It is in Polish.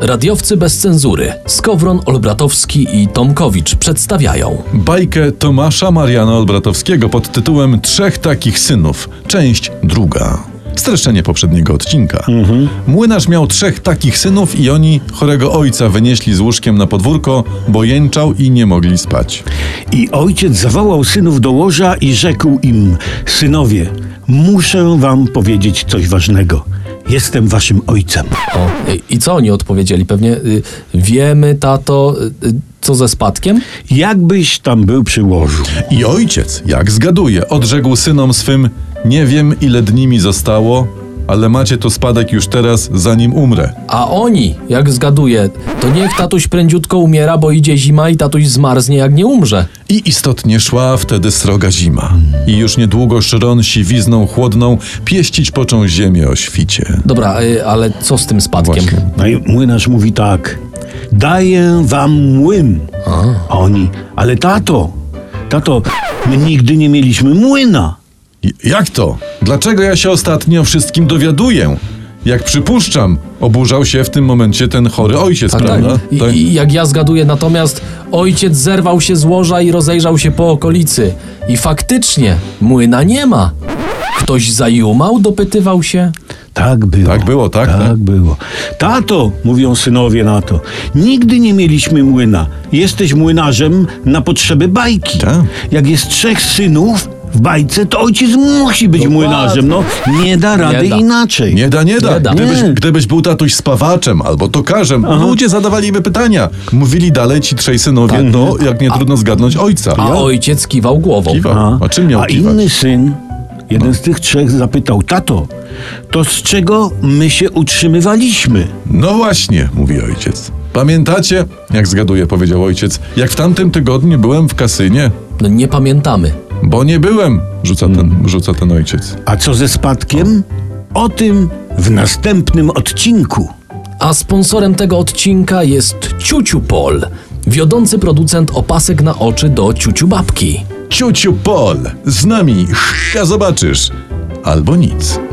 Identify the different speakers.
Speaker 1: Radiowcy bez cenzury Skowron Olbratowski i Tomkowicz przedstawiają
Speaker 2: Bajkę Tomasza Mariana Olbratowskiego pod tytułem Trzech takich synów, część druga. Streszczenie poprzedniego odcinka. Młynarz miał trzech takich synów i oni chorego ojca wynieśli z łóżkiem na podwórko, bo jęczał i nie mogli spać.
Speaker 3: I ojciec zawołał synów do łoża i rzekł im: Synowie, muszę wam powiedzieć coś ważnego. Jestem waszym ojcem.
Speaker 1: o. y, I co oni odpowiedzieli? Pewnie y, wiemy, tato, y, y, co ze spadkiem?
Speaker 3: Jakbyś tam był przy łożu.
Speaker 2: I ojciec, jak zgaduje, odrzekł synom swym: Nie wiem, ile dni mi zostało, ale macie tu spadek już teraz, zanim umrę.
Speaker 1: A oni, jak zgaduję, to niech tatuś prędziutko umiera, bo idzie zima i tatuś zmarznie, jak nie umrze.
Speaker 2: I istotnie szła wtedy sroga zima. I już niedługo szron siwizną chłodną pieścić począł ziemię o świcie.
Speaker 1: Dobra, y, ale co z tym spadkiem?
Speaker 2: Właśnie.
Speaker 3: No i młynarz mówi tak: Daję wam młyn. A oni: Ale tato, tato, my nigdy nie mieliśmy młyna.
Speaker 2: I- Jak to? Dlaczego ja się ostatnio wszystkim dowiaduję? Jak przypuszczam, oburzał się w tym momencie ten chory ojciec,
Speaker 1: Tak, tak.
Speaker 2: prawda? Tak.
Speaker 1: I, I jak ja zgaduję, natomiast ojciec zerwał się z łoża i rozejrzał się po okolicy. I faktycznie młyna nie ma. Ktoś zajumał, dopytywał się.
Speaker 3: Tak było.
Speaker 2: Tak było, tak,
Speaker 3: Tak,
Speaker 2: tak.
Speaker 3: było. Tato, mówią synowie na to, nigdy nie mieliśmy młyna. Jesteś młynarzem na potrzeby bajki.
Speaker 2: Tak.
Speaker 3: Jak jest trzech synów w bajce, to ojciec musi być młynarzem. No, nie da rady
Speaker 1: da.
Speaker 3: inaczej.
Speaker 2: Nie da, nie da.
Speaker 1: Nie da.
Speaker 2: Gdybyś,
Speaker 3: Nie.
Speaker 2: gdybyś był tatuś spawaczem albo tokarzem, ludzie zadawaliby pytania. Mówili dalej ci trzej synowie, no jak nie trudno zgadnąć ojca.
Speaker 1: A
Speaker 2: Ja?
Speaker 1: ojciec kiwał głową.
Speaker 2: Kiwał. A czym miał
Speaker 3: A
Speaker 2: kiwać? No.
Speaker 3: inny syn, jeden z tych trzech zapytał, tato, to z czego my się utrzymywaliśmy?
Speaker 2: No właśnie, mówi ojciec. Pamiętacie, jak zgaduję, powiedział ojciec, jak w tamtym tygodniu byłem w kasynie?
Speaker 1: No nie pamiętamy.
Speaker 2: Bo nie byłem, rzuca ten, rzuca ten ojciec.
Speaker 3: A co ze spadkiem? O tym w następnym odcinku.
Speaker 1: A sponsorem tego odcinka jest Ciuciu Pol, wiodący producent opasek na oczy do ciuciu babki.
Speaker 2: Ciuciu Pol, z nami, a zobaczysz. Albo nic.